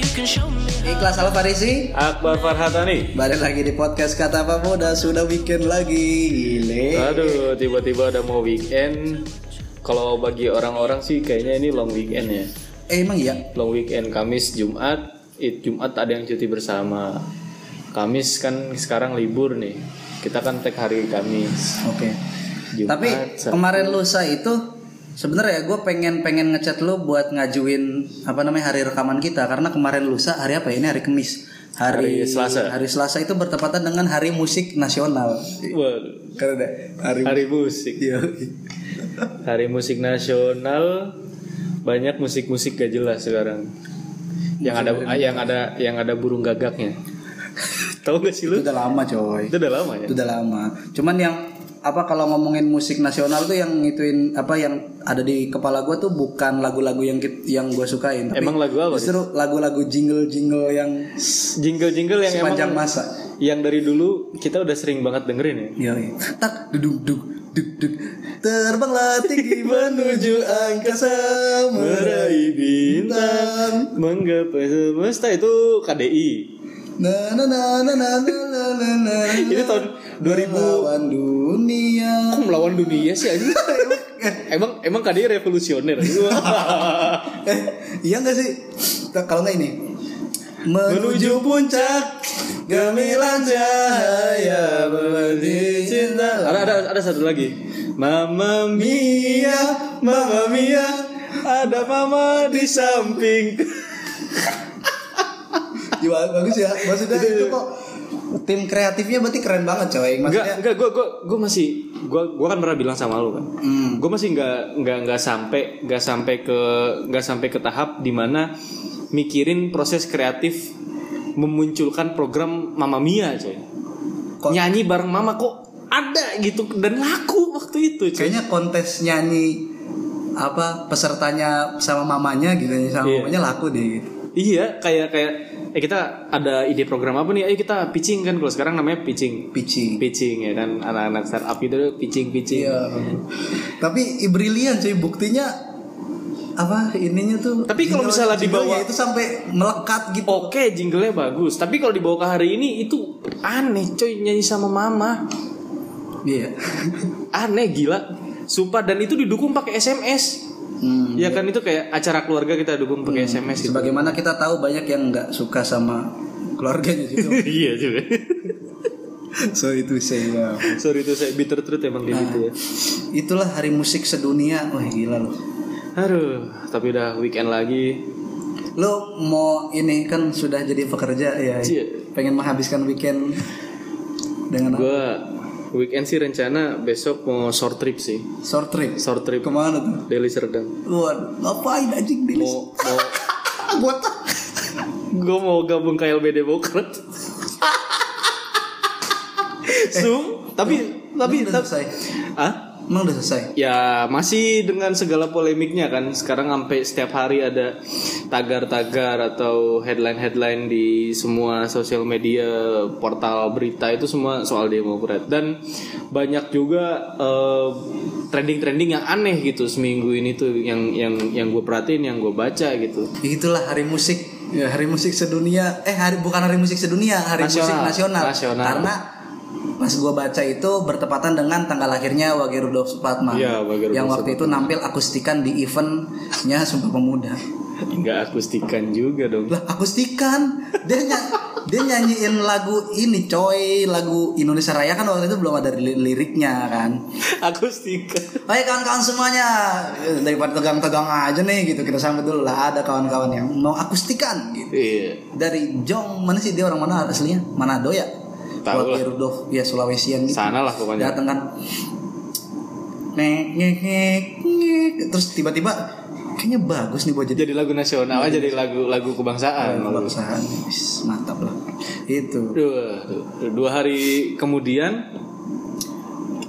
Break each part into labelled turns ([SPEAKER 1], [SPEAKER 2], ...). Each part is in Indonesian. [SPEAKER 1] Ikhlas Al Farisi.
[SPEAKER 2] Akbar Farhatani.
[SPEAKER 1] Balik lagi di podcast kata apa muda sudah weekend lagi. Gile.
[SPEAKER 2] Aduh, tiba-tiba udah mau weekend. Kalau bagi orang-orang sih kayaknya ini long weekend ya.
[SPEAKER 1] Eh emang iya.
[SPEAKER 2] Long weekend Kamis, Jumat. It, Jumat ada yang cuti bersama. Kamis kan sekarang libur nih. Kita kan tag hari Kamis.
[SPEAKER 1] Oke.
[SPEAKER 2] Jumat,
[SPEAKER 1] Tapi
[SPEAKER 2] Sabtu.
[SPEAKER 1] kemarin lusa itu sebenarnya gue pengen pengen ngechat lu buat ngajuin apa namanya hari rekaman kita karena kemarin lusa hari apa ya? ini hari Kamis hari,
[SPEAKER 2] Hari Selasa.
[SPEAKER 1] hari Selasa itu bertepatan dengan hari musik nasional
[SPEAKER 2] Waduh,
[SPEAKER 1] karena hari iya.
[SPEAKER 2] hari musik. Hari musik nasional banyak musik-musik gak jelas sekarang. Yang ada yang ada yang ada burung gagaknya. Tahu gak sih
[SPEAKER 1] itu
[SPEAKER 2] lu?
[SPEAKER 1] udah lama coy
[SPEAKER 2] Itu udah lama ya.
[SPEAKER 1] itu udah lama cuman yang apa kalau ngomongin musik nasional tuh yang ngituin apa yang ada di kepala gue tuh bukan lagu-lagu yang kit- yang gue sukain tapi
[SPEAKER 2] Emang lagu apa?
[SPEAKER 1] justru lagu-lagu jingle jingle yang
[SPEAKER 2] jingle jingle yang emang
[SPEAKER 1] sepanjang masa
[SPEAKER 2] yang dari dulu kita udah sering banget dengerin ya
[SPEAKER 1] Yoi. tak duduk duduk duduk duduk terbanglah tinggi menuju angkasa meraih
[SPEAKER 2] meraih bintang menggapai semesta itu KDI
[SPEAKER 1] na na na na na na na na na
[SPEAKER 2] itu tahun 2000
[SPEAKER 1] Melawan dunia
[SPEAKER 2] Kok melawan dunia sih anjing? emang emang KDI revolusioner
[SPEAKER 1] eh iya nggak sih Nah, kalau nggak ini menuju
[SPEAKER 2] puncak
[SPEAKER 1] gemilang cahaya memenuhi
[SPEAKER 2] memenuhi
[SPEAKER 1] cinta.
[SPEAKER 2] ada ada ada satu lagi Mama Mia Mama Mia ada mama di samping
[SPEAKER 1] Jiwa bagus ya maksudnya itu kok tim kreatifnya berarti keren banget coy
[SPEAKER 2] Enggak,
[SPEAKER 1] maksudnya
[SPEAKER 2] enggak, gue gue gue masih gue gue kan pernah bilang sama lu kan.
[SPEAKER 1] Hmm.
[SPEAKER 2] Gue masih nggak nggak nggak sampai nggak sampai ke nggak sampai ke tahap dimana mikirin proses kreatif memunculkan program Mama Mia coy.
[SPEAKER 1] Kok-
[SPEAKER 2] Nyanyi bareng Mama kok ada gitu dan laku waktu itu coy.
[SPEAKER 1] kayaknya kontes nyanyi apa pesertanya sama mamanya gitu ya sama
[SPEAKER 2] Iya.
[SPEAKER 1] mamanya laku deh gitu.
[SPEAKER 2] Iya, kayak kayak eh kita ada ide program apa nih? Ayo kita pitching kan kalau sekarang namanya pitching.
[SPEAKER 1] pitching
[SPEAKER 2] Pitching ya kan anak-anak startup gitu pitching pitching.
[SPEAKER 1] iya tapi brilian cuy buktinya apa ininya tuh
[SPEAKER 2] Tapi kalau misalnya
[SPEAKER 1] jingle-jinglenya
[SPEAKER 2] dibawa- Oh.
[SPEAKER 1] itu sampai melekat gitu
[SPEAKER 2] Oke, jinglenya bagus. Tapi kalau dibawa ke hari ini itu aneh, coy nyanyi sama mama.
[SPEAKER 1] iya
[SPEAKER 2] Aneh gila. Sumpah dan itu didukung pakai SMS.
[SPEAKER 1] Hmm.
[SPEAKER 2] Ya kan itu kayak acara keluarga kita dukung pakai SMS gitu.
[SPEAKER 1] Sebagaimana kita tahu banyak yang nggak suka sama keluarganya juga.
[SPEAKER 2] iya juga.
[SPEAKER 1] so itu saya.
[SPEAKER 2] Sorry itu saya bitter truth emang kayak gitu ya.
[SPEAKER 1] Itulah hari musik sedunia. Wah gila loh.
[SPEAKER 2] Ah. Aduh, tapi udah weekend lagi.
[SPEAKER 1] Lo mau ini kan sudah jadi pekerja ya.
[SPEAKER 2] Iya.
[SPEAKER 1] Pengen menghabiskan weekend dengan apa?
[SPEAKER 2] Gua weekend sih rencana besok mau short trip sih.
[SPEAKER 1] short trip.
[SPEAKER 2] Short trip
[SPEAKER 1] Kemana tuh?
[SPEAKER 2] Deli Serdang.
[SPEAKER 1] Waduh, ngapain anjing di list?
[SPEAKER 2] Mau mau
[SPEAKER 1] Buat
[SPEAKER 2] gue mau gabung ke LB Demokrat. Sum, tapi tapi
[SPEAKER 1] Tapi udah selesai.
[SPEAKER 2] ah
[SPEAKER 1] Emang udah selesai.
[SPEAKER 2] ya masih dengan segala polemiknya kan sekarang sampai setiap hari ada tagar-tagar atau headline-headline di semua sosial media portal berita itu semua soal demokrat dan banyak juga eh, trending-trending yang aneh gitu seminggu ini tuh yang yang yang gue perhatiin yang gue baca gitu
[SPEAKER 1] Ya, Itulah hari musik. Ya, hari musik sedunia. Eh hari bukan hari musik sedunia, hari musik
[SPEAKER 2] Nasional.
[SPEAKER 1] nasional.
[SPEAKER 2] Nasional.
[SPEAKER 1] Karena pas gua baca itu bertepatan dengan tanggal lahirnya Wage Rudolf Supratman.
[SPEAKER 2] Iya, Wage Rudolf
[SPEAKER 1] yang waktu itu nampil akustikan di eventnya Sumpah Pemuda.
[SPEAKER 2] nggak akustikan juga dong
[SPEAKER 1] Lah, akustikan. Dia ny- dia nyanyiin lagu ini coy, lagu Indonesia Raya kan waktu itu belum ada li- liriknya kan.
[SPEAKER 2] akustikan
[SPEAKER 1] Hai kawan-kawan semuanya daripada tegang-tegang aja nih gitu kita sambut dulu lah ada kawan-kawan yang mau akustikan gitu.
[SPEAKER 2] Iya.
[SPEAKER 1] dari Jong mana sih dia orang mana aslinya Manado ya
[SPEAKER 2] Tahu
[SPEAKER 1] Wage
[SPEAKER 2] lah.
[SPEAKER 1] Rudolf ya Sulawesian gitu
[SPEAKER 2] Sana lah pokoknya.
[SPEAKER 1] datang kan nek nek nek nek. terus tiba-tiba kayaknya bagus nih buat jadi
[SPEAKER 2] Jadi lagu nasional, jadi lagu-lagu kebangsaan.
[SPEAKER 1] Iya, kebangsaan Wis, mantap lah itu
[SPEAKER 2] Dua, dua hari kemudian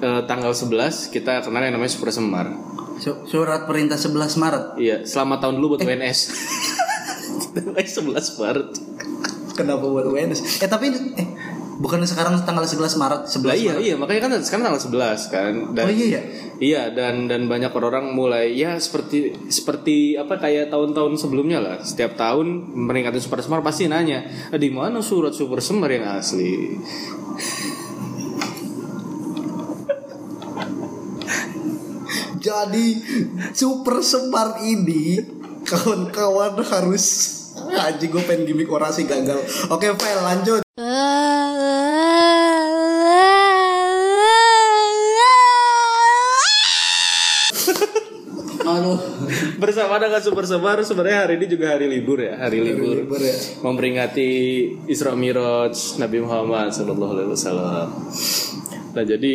[SPEAKER 2] eh, tanggal 11 kita kenal yang namanya Super Semar.
[SPEAKER 1] Su- surat perintah 11 Maret
[SPEAKER 2] Iya, selamat tahun
[SPEAKER 1] Eh.
[SPEAKER 2] dulu buat WNS. Tanggal 11 Maret.
[SPEAKER 1] kenapa buat UNS eh tapi eh Bukan sekarang tanggal 11 Maret, 11
[SPEAKER 2] Lah iya
[SPEAKER 1] Maret.
[SPEAKER 2] iya makanya kan sekarang tanggal 11 kan dan
[SPEAKER 1] Oh iya ya.
[SPEAKER 2] iya dan dan banyak orang mulai ya seperti seperti apa kayak tahun-tahun sebelumnya lah setiap tahun peringatan Super Semar pasti nanya "Ah, di mana surat Super Semar yang asli
[SPEAKER 1] Jadi Super Semar ini kawan-kawan harus Anjing gue pengen gimmick orasi gagal. Oke, fail lanjut. Aduh,
[SPEAKER 2] bersama dengan Super Semar sebenarnya hari ini juga hari libur ya hari libur
[SPEAKER 1] libur ya.
[SPEAKER 2] memperingati Isra Miraj Nabi Muhammad Sallallahu Alaihi Wasallam nah jadi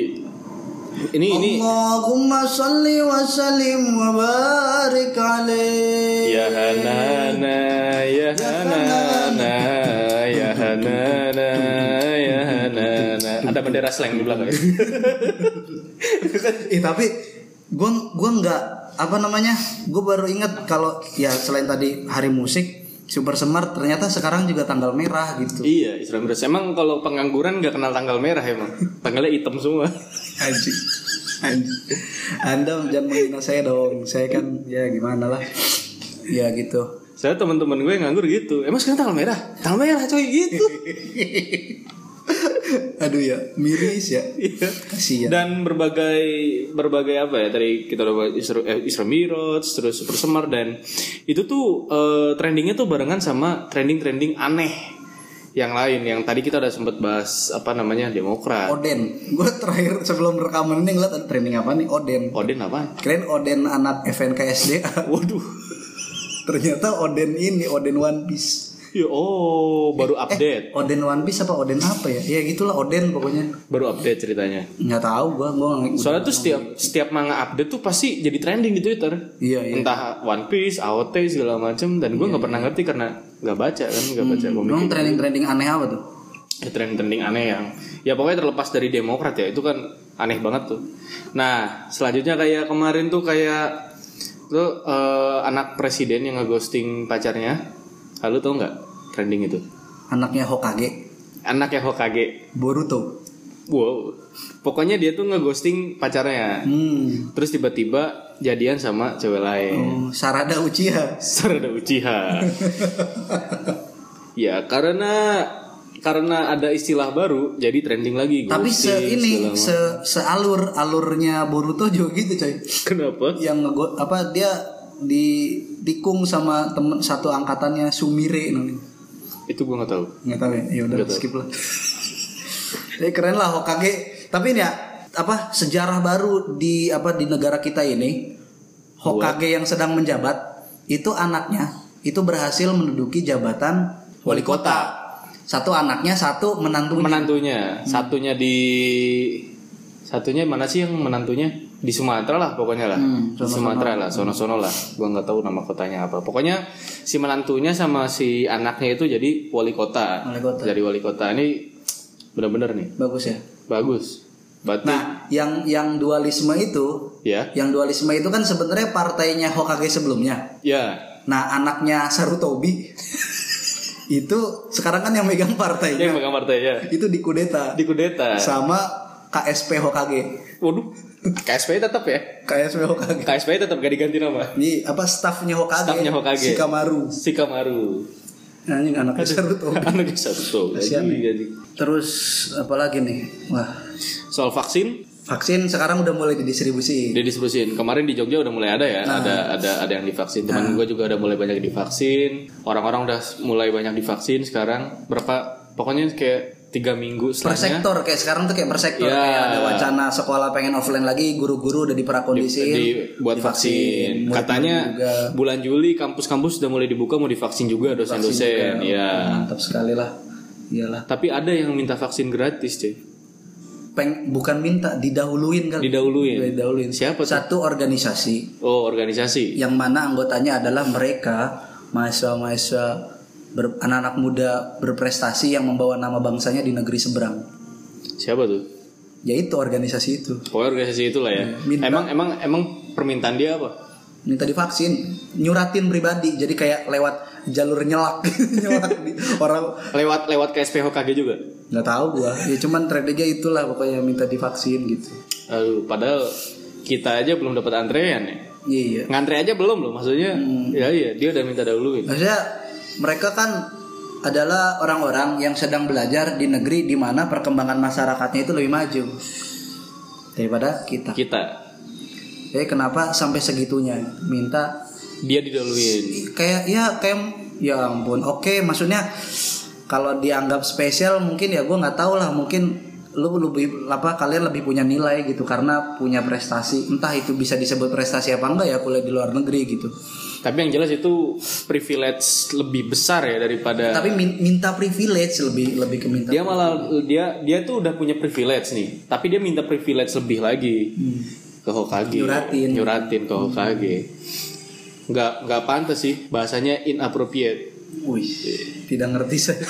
[SPEAKER 2] ini ini
[SPEAKER 1] Allahumma salli wa sallim wa barik alaih.
[SPEAKER 2] Ya Hanana, ya Hanana, ya Hanana, ya Hanana. Ada bendera slang di belakang.
[SPEAKER 1] Eh tapi gue gua nggak apa namanya gue baru ingat kalau ya selain tadi hari musik Super Semar ternyata sekarang juga tanggal merah gitu.
[SPEAKER 2] iya, Isra Miraj. Emang kalau pengangguran nggak kenal tanggal merah emang. Tanggalnya hitam semua.
[SPEAKER 1] Anjing. Anjing. Anda jangan menghina saya dong. Saya kan ya gimana lah. Ya gitu.
[SPEAKER 2] Saya teman-teman gue nganggur gitu. Emang sekarang tanggal merah? Tanggal merah coy gitu.
[SPEAKER 1] Aduh ya, miris ya.
[SPEAKER 2] Iya.
[SPEAKER 1] Kasihan.
[SPEAKER 2] Dan berbagai berbagai apa ya tadi kita udah bahas Isra, eh, Isra Miraj, terus Super Semar dan itu tuh eh, trendingnya tuh barengan sama trending-trending aneh yang lain yang tadi kita udah sempet bahas apa namanya Demokrat.
[SPEAKER 1] Oden. Gue terakhir sebelum rekaman ini ngeliat ada trending apa nih Oden.
[SPEAKER 2] Odin apa?
[SPEAKER 1] Keren Oden anak FNKSD.
[SPEAKER 2] Waduh.
[SPEAKER 1] Ternyata Oden ini Oden One Piece.
[SPEAKER 2] Ya oh, baru update.
[SPEAKER 1] Oden One Piece apa Oden apa ya? Ya gitulah Oden pokoknya.
[SPEAKER 2] Eh, Baru update ceritanya.
[SPEAKER 1] Nggak tahu gua, gua nggak
[SPEAKER 2] Soalnya tuh setiap setiap manga update tuh pasti jadi trending di Twitter.
[SPEAKER 1] Iya, iya.
[SPEAKER 2] Entah One Piece, AOT segala macem dan gue nggak pernah ngerti karena nggak baca kan, nggak baca komik.
[SPEAKER 1] Emang trending-trending aneh apa tuh?
[SPEAKER 2] ya, trending-trending aneh yang ya pokoknya terlepas dari Demokrat ya itu kan aneh banget tuh. Nah selanjutnya kayak kemarin tuh kayak tuh eh, anak presiden yang ngeghosting pacarnya, lalu tau nggak trending itu?
[SPEAKER 1] Anaknya Hokage,
[SPEAKER 2] Anaknya Hokage,
[SPEAKER 1] Boruto.
[SPEAKER 2] wow. Pokoknya dia tuh ngeghosting pacarnya,
[SPEAKER 1] Hmm.
[SPEAKER 2] terus tiba-tiba jadian sama cewek lain.
[SPEAKER 1] Oh, Sarada Uchiha.
[SPEAKER 2] Sarada Uchiha. ya karena karena ada istilah baru jadi trending lagi.
[SPEAKER 1] Tapi
[SPEAKER 2] ghosting,
[SPEAKER 1] se ini
[SPEAKER 2] segala macam.
[SPEAKER 1] se sealur alurnya Boruto juga gitu coy.
[SPEAKER 2] kenapa?
[SPEAKER 1] Yang ngego- apa dia di tikung sama temen satu angkatannya Sumire namanya.
[SPEAKER 2] Itu gua nggak tahu.
[SPEAKER 1] nggak tahu ya ya udah skip lah tapi keren lah Hokage tapi ini ya apa sejarah baru di apa di negara kita ini Hokage yang sedang menjabat itu anaknya itu berhasil menduduki jabatan wali kota satu anaknya satu menantunya
[SPEAKER 2] Menantunya, satunya di satunya mana sih yang menantunya di Sumatera lah pokoknya lah.
[SPEAKER 1] Hmm,
[SPEAKER 2] Di Sumatera lah, sono-sono lah. Gua nggak tahu nama kotanya apa. Pokoknya si menantunya sama si anaknya itu jadi wali kota.
[SPEAKER 1] wali kota
[SPEAKER 2] Jadi wali kota ini bener-bener nih
[SPEAKER 1] bagus ya
[SPEAKER 2] bagus. Berarti
[SPEAKER 1] nah yang yang dualisme itu
[SPEAKER 2] ya,
[SPEAKER 1] yang dualisme itu kan sebenarnya partainya Hokage sebelumnya
[SPEAKER 2] ya
[SPEAKER 1] nah anaknya Sarutobi itu sekarang kan yang megang partainya
[SPEAKER 2] Iya megang partai ya.
[SPEAKER 1] itu di kudeta
[SPEAKER 2] Di kudeta.
[SPEAKER 1] sama KSP Hokage
[SPEAKER 2] Waduh. KSP tetap ya.
[SPEAKER 1] KSP Hokage
[SPEAKER 2] KSP tetap gak diganti nama.
[SPEAKER 1] ini apa stafnya Hokage
[SPEAKER 2] Stafnya Hokage.
[SPEAKER 1] si Kamaru
[SPEAKER 2] Sikamaru.
[SPEAKER 1] anjing anaknya Naruto
[SPEAKER 2] Anaknya satu tuh.
[SPEAKER 1] Kasihan,
[SPEAKER 2] Gaji, gaji.
[SPEAKER 1] terus apalagi nih wah
[SPEAKER 2] Soal vaksin
[SPEAKER 1] vaksin sekarang udah mulai didistribusi
[SPEAKER 2] udah distribusin. Kemarin di Jogja udah mulai ada ya.
[SPEAKER 1] Nah.
[SPEAKER 2] Ada ada ada yang divaksin. Teman gue juga udah mulai banyak divaksin. Orang-orang udah mulai banyak divaksin sekarang. Berapa? Pokoknya kayak tiga minggu
[SPEAKER 1] per
[SPEAKER 2] setelahnya
[SPEAKER 1] sektor kayak sekarang tuh kayak per sektor
[SPEAKER 2] Iya.
[SPEAKER 1] kayak ada wacana sekolah pengen offline lagi guru-guru udah diprakondisin
[SPEAKER 2] dibuat vaksin.
[SPEAKER 1] Murid-murid
[SPEAKER 2] Katanya
[SPEAKER 1] juga.
[SPEAKER 2] bulan Juli kampus-kampus sudah mulai dibuka mau divaksin juga dosen-dosen. Ya.
[SPEAKER 1] mantap sekali lah iyalah
[SPEAKER 2] Tapi ada yang minta vaksin gratis, cuy.
[SPEAKER 1] Peng, bukan minta didahuluin kan
[SPEAKER 2] Didahuluin.
[SPEAKER 1] didahuluin
[SPEAKER 2] Siapa tuh?
[SPEAKER 1] satu organisasi
[SPEAKER 2] Oh, organisasi.
[SPEAKER 1] yang mana anggotanya adalah mereka mahasiswa-mahasiswa ber- anak-anak muda berprestasi yang membawa nama bangsanya di negeri seberang
[SPEAKER 2] Siapa tuh?
[SPEAKER 1] yaitu organisasi itu
[SPEAKER 2] Pokoknya organisasi itulah ya.
[SPEAKER 1] Minta.
[SPEAKER 2] Emang emang emang permintaan dia apa?
[SPEAKER 1] minta divaksin nyuratin pribadi jadi kayak lewat jalur nyelak nyelak di orang
[SPEAKER 2] Lewat lewat KSP Hokage juga.
[SPEAKER 1] nggak tahu gua ya cuman strateginya itulah pokoknya minta divaksin gitu
[SPEAKER 2] Aduh, padahal kita aja belum dapat antrean ya.
[SPEAKER 1] iya
[SPEAKER 2] Ngantre aja belum loh maksudnya. Ya iya, dia udah minta dahuluin.
[SPEAKER 1] Maksudnya mereka kan adalah orang-orang yang sedang belajar di negeri di mana perkembangan masyarakatnya itu lebih maju daripada kita.
[SPEAKER 2] Kita
[SPEAKER 1] Jadi kenapa sampai segitunya minta
[SPEAKER 2] dia didahuluin.
[SPEAKER 1] kayak ya kayak ya ampun oke maksudnya kalau dianggap spesial mungkin ya gue nggak tahu lah mungkin lu lebih apa kalian lebih punya nilai gitu karena punya prestasi entah itu bisa disebut prestasi apa enggak ya kuliah di luar negeri gitu
[SPEAKER 2] Tapi yang jelas itu privilege lebih besar ya daripada
[SPEAKER 1] tapi min- minta privilege lebih lebih ke minta
[SPEAKER 2] dia malah dia dia tuh udah punya privilege nih tapi dia minta privilege lebih lagi
[SPEAKER 1] Hmm.
[SPEAKER 2] ke Hokage
[SPEAKER 1] Nyuratin.
[SPEAKER 2] nyuratin ke Hokage nggak nggak pantas sih bahasanya inappropriate
[SPEAKER 1] Wih, tidak ngerti saya.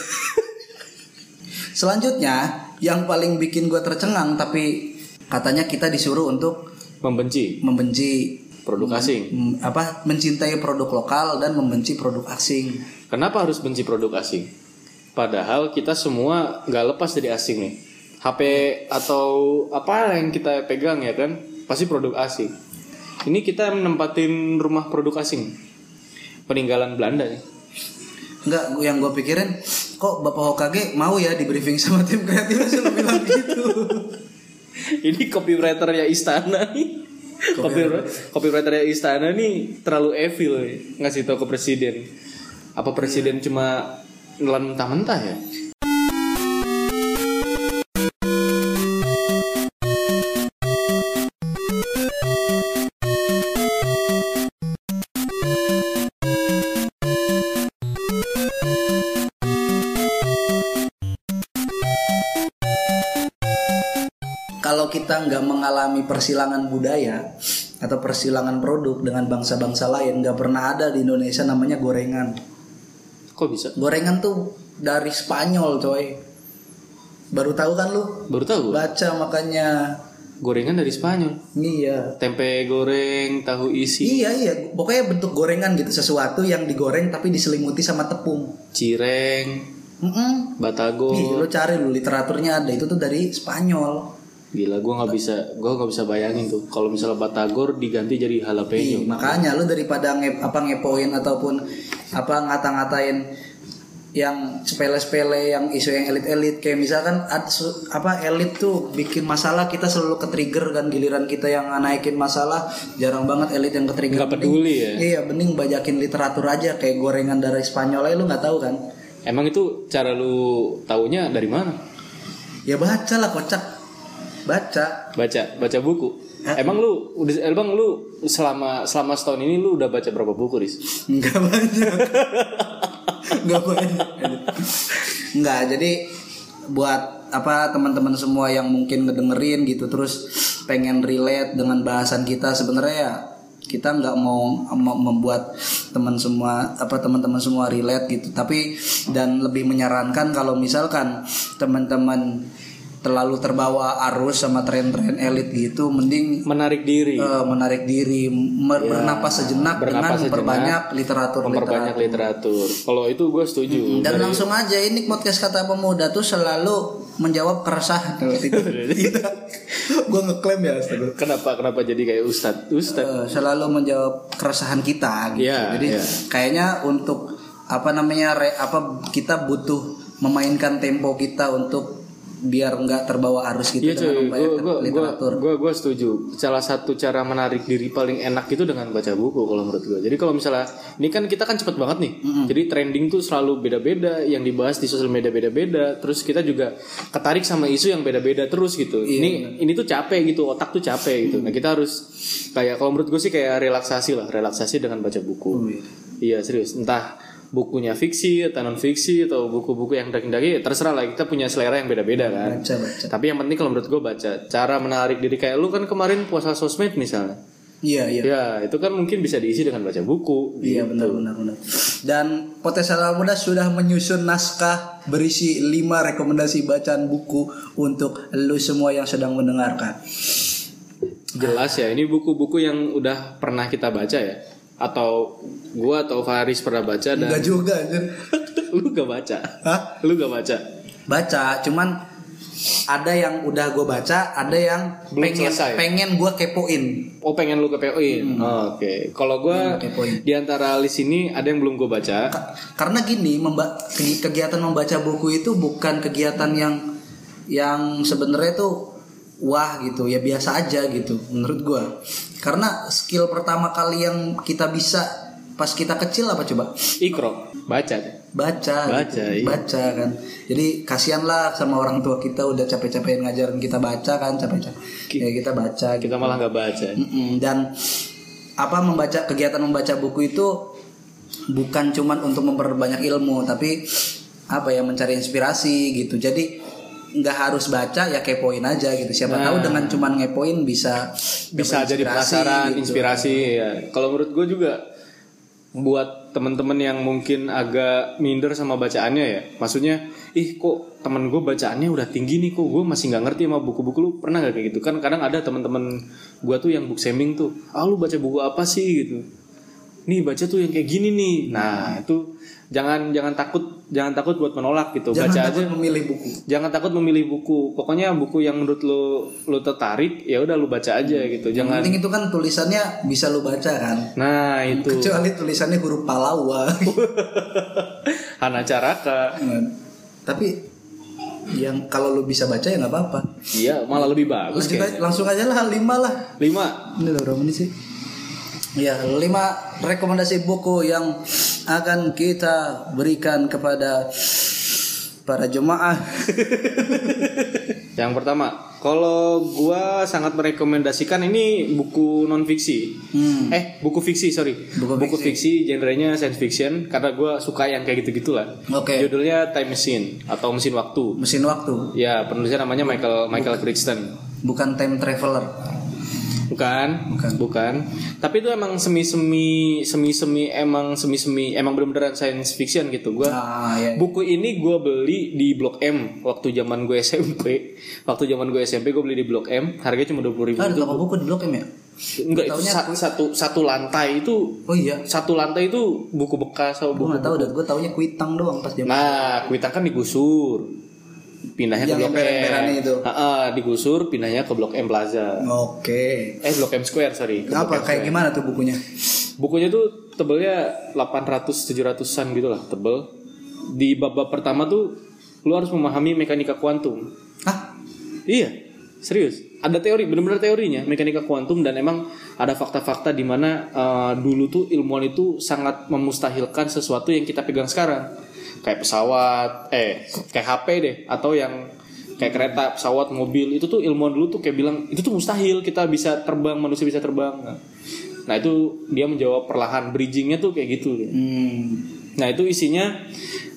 [SPEAKER 1] Selanjutnya, yang paling bikin gue tercengang tapi katanya kita disuruh untuk
[SPEAKER 2] membenci
[SPEAKER 1] membenci
[SPEAKER 2] produk asing
[SPEAKER 1] mm, apa mencintai produk lokal dan membenci produk asing.
[SPEAKER 2] kenapa harus benci produk asing padahal kita semua nggak lepas dari asing nih HP atau apa yang kita pegang ya kan pasti produk asing ini kita menempatin rumah produk asing peninggalan Belanda nih
[SPEAKER 1] Enggak, gua- yang gue pikirin kok Bapak Hokage mau ya di briefing sama tim kreatif selalu bilang gitu.
[SPEAKER 2] Ini copywriter ya istana nih. Copywriter, copywriter ya istana nih terlalu evil nih, ngasih tahu ke presiden. Apa presiden cuma nelan mentah-mentah ya?
[SPEAKER 1] Kalau kita nggak mengalami persilangan budaya atau persilangan produk dengan bangsa-bangsa lain, nggak pernah ada di Indonesia namanya gorengan.
[SPEAKER 2] Kok bisa?
[SPEAKER 1] Gorengan tuh dari Spanyol, coy. Baru tahu kan lu?
[SPEAKER 2] Baru tahu gua.
[SPEAKER 1] Baca makanya.
[SPEAKER 2] Gorengan dari Spanyol.
[SPEAKER 1] Iya.
[SPEAKER 2] Tempe goreng, tahu isi,
[SPEAKER 1] Iya iya, pokoknya bentuk gorengan gitu sesuatu yang digoreng tapi diselimuti sama tepung.
[SPEAKER 2] cireng,
[SPEAKER 1] Mm-mm. Ih,
[SPEAKER 2] batagor.
[SPEAKER 1] lu cari lu literaturnya ada itu tuh dari Spanyol.
[SPEAKER 2] Gila gua nggak bisa, gua nggak bisa bayangin tuh kalau misalnya batagor diganti jadi jalapeno.
[SPEAKER 1] Ih, makanya lu daripada nge- apa ngepoin ataupun apa ngata-ngatain yang sepele-sepele yang isu yang elit-elit kayak misalkan ad- su- apa elit tuh bikin masalah kita selalu ke trigger kan giliran kita yang naikin masalah jarang banget elit yang ke trigger
[SPEAKER 2] Nggak peduli ya.
[SPEAKER 1] iya bening bajakin literatur aja kayak gorengan dari Spanyol aja lu nggak tahu kan
[SPEAKER 2] Emang itu cara lu taunya dari mana?
[SPEAKER 1] ya baca lah kocak baca
[SPEAKER 2] baca baca buku emang lu udah emang lu selama selama setahun ini lu udah baca berapa buku Riz?
[SPEAKER 1] nggak banyak nggak banyak nggak jadi buat apa teman-teman semua yang mungkin ngedengerin gitu terus pengen relate dengan bahasan kita sebenarnya ya kita nggak mau mau membuat teman semua apa teman-teman semua relate gitu tapi dan lebih menyarankan kalau misalkan teman-teman terlalu terbawa arus sama tren-tren elit gitu mending
[SPEAKER 2] menarik diri
[SPEAKER 1] eh, menarik diri mer- bernapas sejenak dengan
[SPEAKER 2] Iya. bernapas sejenak,
[SPEAKER 1] memperbanyak literatur
[SPEAKER 2] memperbanyak literatur kalau itu gue setuju
[SPEAKER 1] dan langsung aja ini podcast kata pemuda tuh selalu menjawab keresahan Iya. tidak gue ngeklaim ya astaga.
[SPEAKER 2] kenapa kenapa jadi kayak ustad ustad
[SPEAKER 1] Eh, selalu menjawab keresahan kita gitu.
[SPEAKER 2] Iya,
[SPEAKER 1] jadi
[SPEAKER 2] iya.
[SPEAKER 1] kayaknya untuk apa namanya re- apa kita butuh memainkan tempo kita untuk biar nggak terbawa arus gitu
[SPEAKER 2] Iya cuy,
[SPEAKER 1] dengan membayar
[SPEAKER 2] gue gue gue setuju. Salah satu cara menarik diri paling enak itu dengan baca buku kalau menurut gue. Jadi kalau misalnya ini kan kita kan cepet banget nih. Jadi trending tuh selalu beda-beda, yang dibahas di sosial media beda-beda. Terus kita juga ketarik sama isu yang beda-beda terus gitu. ini ini tuh capek gitu, otak tuh capek gitu. Nah kita harus kayak kalau menurut gue sih kayak relaksasi lah, relaksasi dengan baca buku.
[SPEAKER 1] Mm.
[SPEAKER 2] Iya serius, entah bukunya fiksi atau non fiksi atau buku-buku yang daging-daging ya terserah lah kita punya selera yang beda-beda kan.
[SPEAKER 1] baca baca
[SPEAKER 2] Tapi yang penting kalau menurut gue baca cara menarik diri kayak lu kan kemarin puasa sosmed misalnya.
[SPEAKER 1] iya iya
[SPEAKER 2] Ya itu kan mungkin bisa diisi dengan baca buku.
[SPEAKER 1] Iya benar benar benar. Dan Potensi Anak Muda sudah menyusun naskah berisi 5 rekomendasi bacaan buku untuk lu semua yang sedang mendengarkan.
[SPEAKER 2] jelas ya ini buku-buku yang udah pernah kita baca ya atau gua atau Faris pernah baca dan
[SPEAKER 1] Enggak juga anjir.
[SPEAKER 2] lu gak baca
[SPEAKER 1] Hah?
[SPEAKER 2] lu gak baca
[SPEAKER 1] Baca, cuman ada yang udah gue baca, ada yang
[SPEAKER 2] Belum
[SPEAKER 1] pengen
[SPEAKER 2] selesai.
[SPEAKER 1] pengen gue kepoin.
[SPEAKER 2] oh pengen lu kepoin oke kalau gua
[SPEAKER 1] Hmm, kepoin.
[SPEAKER 2] di antara list ini ada yang belum gua baca
[SPEAKER 1] Ka- karena gini memba- ke- kegiatan membaca buku itu bukan kegiatan yang yang sebenarnya tuh wah gitu ya biasa aja gitu menurut gua karena skill pertama kali yang kita bisa pas kita kecil apa coba
[SPEAKER 2] ikro baca
[SPEAKER 1] baca
[SPEAKER 2] Baca,
[SPEAKER 1] gitu.
[SPEAKER 2] iya.
[SPEAKER 1] baca kan jadi kasihanlah sama orang tua kita udah capek-capek ngajarin kita baca kan capek-capek ya kita baca gitu.
[SPEAKER 2] kita malah nggak baca
[SPEAKER 1] Mm-mm. dan apa membaca kegiatan membaca buku itu bukan cuman untuk memperbanyak ilmu tapi apa ya mencari inspirasi gitu jadi nggak harus baca ya kepoin aja gitu siapa tahu dengan cuman ngepoin bisa
[SPEAKER 2] Nah. bisa
[SPEAKER 1] dapat
[SPEAKER 2] jadi
[SPEAKER 1] inspirasi
[SPEAKER 2] penasaran
[SPEAKER 1] gitu.
[SPEAKER 2] inspirasi ya kalau menurut gue juga buat temen-temen yang mungkin agak minder sama bacaannya ya maksudnya ih kok temen gue bacaannya udah tinggi nih kok gue masih nggak ngerti sama buku-buku lu pernah gak kayak gitu kan kadang ada temen-temen gue tuh yang book shaming tuh ah lu baca buku apa sih gitu nih baca tuh yang kayak gini nih nah itu jangan jangan takut jangan takut buat menolak gitu
[SPEAKER 1] jangan
[SPEAKER 2] baca aja
[SPEAKER 1] takut memilih buku
[SPEAKER 2] jangan takut memilih buku pokoknya buku yang menurut lo lo tertarik ya udah lo baca aja gitu
[SPEAKER 1] yang
[SPEAKER 2] jangan
[SPEAKER 1] penting itu kan tulisannya bisa lu baca kan
[SPEAKER 2] nah itu
[SPEAKER 1] kecuali tulisannya huruf Palawa
[SPEAKER 2] Hana Caraka
[SPEAKER 1] tapi yang kalau lu bisa baca ya nggak apa-apa
[SPEAKER 2] iya malah lebih bagus
[SPEAKER 1] Lanjut
[SPEAKER 2] kayak
[SPEAKER 1] aja- langsung aja lah lima lah
[SPEAKER 2] lima
[SPEAKER 1] Ini udah berapa menit sih? Ya, lima rekomendasi buku yang akan kita berikan kepada para jemaah.
[SPEAKER 2] yang pertama kalau gua sangat merekomendasikan ini buku non fiksi
[SPEAKER 1] Hmm.
[SPEAKER 2] eh buku fiksi sorry
[SPEAKER 1] Buku
[SPEAKER 2] fiksi. genrenya science fiction karena gua suka yang kayak gitu gitulah
[SPEAKER 1] Oke,
[SPEAKER 2] judulnya time machine atau mesin waktu
[SPEAKER 1] mesin waktu,
[SPEAKER 2] ya penulisnya namanya Michael Michael Crichton
[SPEAKER 1] bukan time traveler.
[SPEAKER 2] Bukan,
[SPEAKER 1] Bukan.
[SPEAKER 2] bukan, Tapi itu emang semi-semi, semi-semi emang semi-semi emang bener-beneran science fiction gitu. Gua
[SPEAKER 1] Ah, ya.
[SPEAKER 2] buku ini gua beli di Blok M waktu zaman gue SMP. Waktu zaman gue SMP gue beli di Blok M, harganya cuma dua puluh ribu.
[SPEAKER 1] Ah, ada toko buku di Blok M ya?
[SPEAKER 2] Enggak itu
[SPEAKER 1] taunya
[SPEAKER 2] sa- satu satu lantai itu
[SPEAKER 1] Oh iya,
[SPEAKER 2] satu lantai itu buku bekas atau
[SPEAKER 1] gue
[SPEAKER 2] buku.
[SPEAKER 1] nggak tahu dan gue taunya kuitang doang pas zaman.
[SPEAKER 2] Nah, kuitang kan digusur, pindahnya
[SPEAKER 1] Yang
[SPEAKER 2] ke Blok M.
[SPEAKER 1] emperan-emperannya itu.
[SPEAKER 2] Ha-ha, digusur, pindahnya ke Blok M Plaza.
[SPEAKER 1] Oke.
[SPEAKER 2] Eh Blok M Square sorry. Ke Blok M
[SPEAKER 1] Apa kayak gimana tuh bukunya?
[SPEAKER 2] Bukunya tuh tebelnya 800 700-an gitu lah, tebel. Di bab-bab pertama tuh lu harus memahami mekanika kuantum.
[SPEAKER 1] Hah?
[SPEAKER 2] Iya, serius. Ada teori, bener-bener teorinya mekanika kuantum dan emang ada fakta-fakta di mana eh, dulu tuh ilmuwan itu sangat memustahilkan sesuatu yang kita pegang sekarang. Kayak pesawat, eh kayak HP deh atau yang kayak kereta, pesawat, mobil itu tuh ilmuwan dulu tuh kayak bilang itu tuh mustahil kita bisa terbang, manusia bisa terbang. Nah, Nah itu dia menjawab perlahan bridgingnya tuh kayak gitu.
[SPEAKER 1] Hmm.
[SPEAKER 2] Nah itu isinya